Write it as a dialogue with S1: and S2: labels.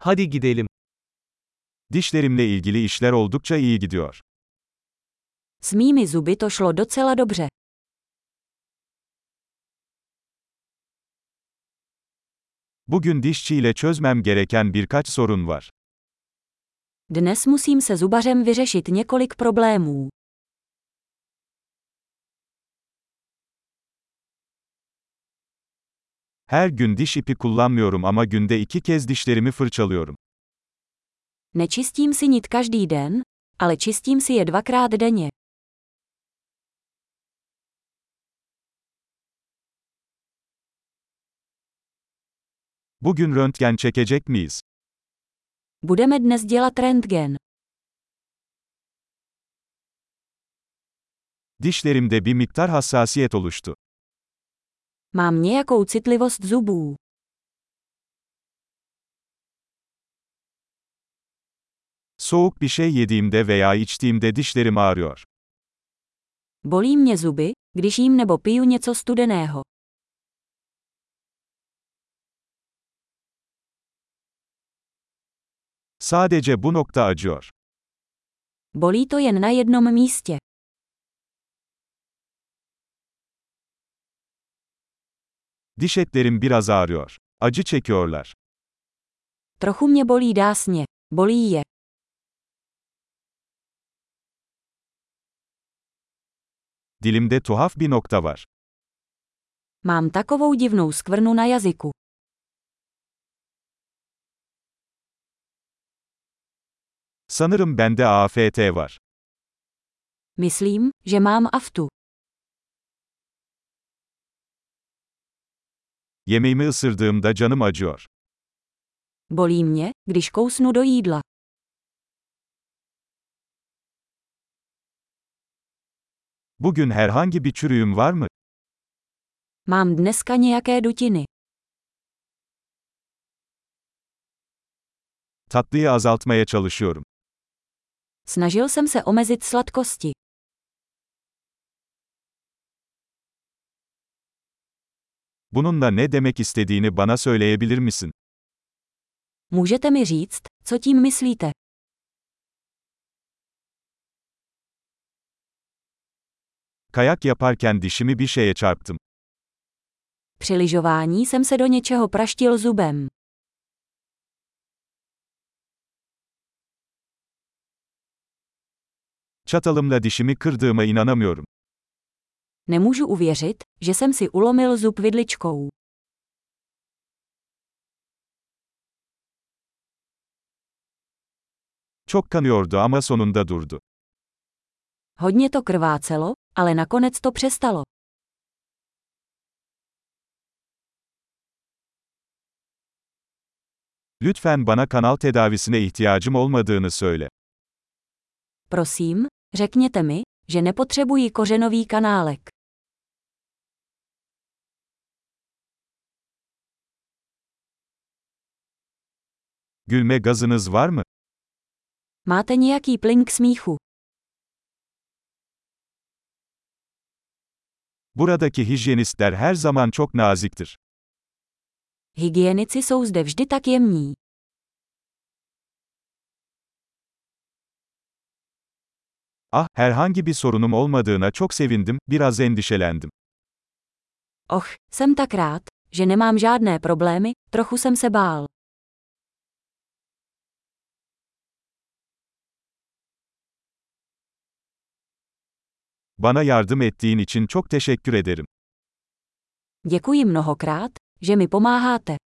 S1: Hadi gidelim.
S2: Dişlerimle ilgili işler oldukça iyi gidiyor.
S3: S mými zuby to šlo docela dobře.
S2: Bugün dişçiyle çözmem gereken birkaç sorun var.
S3: Dnes musím se zubařem vyřešit několik problémů.
S2: Her gün diş ipi kullanmıyorum ama günde iki kez dişlerimi fırçalıyorum.
S3: Nečistím si nit každý den, ale čistím si je dvakrát denně.
S2: Bugün röntgen çekecek miyiz?
S3: Budeme dnes dělat rentgen.
S2: Dişlerimde bir miktar hassasiyet oluştu.
S3: Mám nějakou citlivost zubů.
S2: Soğuk bir şey yediğimde veya içtiğimde dişlerim ağrıyor.
S3: Bolí mě zuby, když jím nebo piju něco studeného.
S2: Sadece bu nokta acıyor.
S3: Bolí to jen na jednom místě.
S2: Diş etlerim biraz ağrıyor. Acı çekiyorlar.
S3: Trochu mě bolí dásně. Bolí je.
S2: Dilimde tuhaf bir nokta var.
S3: Mám takovou divnou skvrnu na jazyku.
S2: Sanırım bende AFT var.
S3: Myslím, že mám aftu.
S2: Yemeğimi ısırdığımda canım acıyor.
S3: Bolí mě, když kousnu do jídla.
S2: Bugün herhangi bir çürüğüm var mı?
S3: Mám dneska nějaké dutiny.
S2: Tatlıyı azaltmaya çalışıyorum.
S3: Snažil jsem se omezit sladkosti.
S2: Bununla ne demek istediğini bana söyleyebilir misin?
S3: Můžete mi říct, co tím myslíte?
S2: Kayak yaparken dişimi bir şeye çarptım.
S3: Při lyžování jsem se do něčeho praštil zubem.
S2: Çatalımla dişimi kırdığıma inanamıyorum.
S3: Nemůžu uvěřit, že jsem si ulomil zub vidličkou.
S2: Çok kanıyordu ama sonunda durdu.
S3: Hodně to krvácelo, ale nakonec to přestalo.
S2: Lütfen bana kanal tedavisine ihtiyacım olmadığını söyle.
S3: Prosím, řekněte mi, že nepotřebuji kořenový kanálek.
S2: Gülme gazınız var mı?
S3: Máte nějaký plyn k smíchu?
S2: Buradaki hijyenistler her zaman çok naziktir.
S3: Hygienici jsou zde vždy tak jemní.
S2: Ah, herhangi bir sorunum olmadığına çok sevindim, biraz endişelendim.
S3: Och, jsem tak rád, že nemám žádné problémy, trochu jsem se bál.
S2: Bana yardım ettiğin için çok teşekkür ederim.
S3: Děkuji mnohokrát, že mi pomáháte.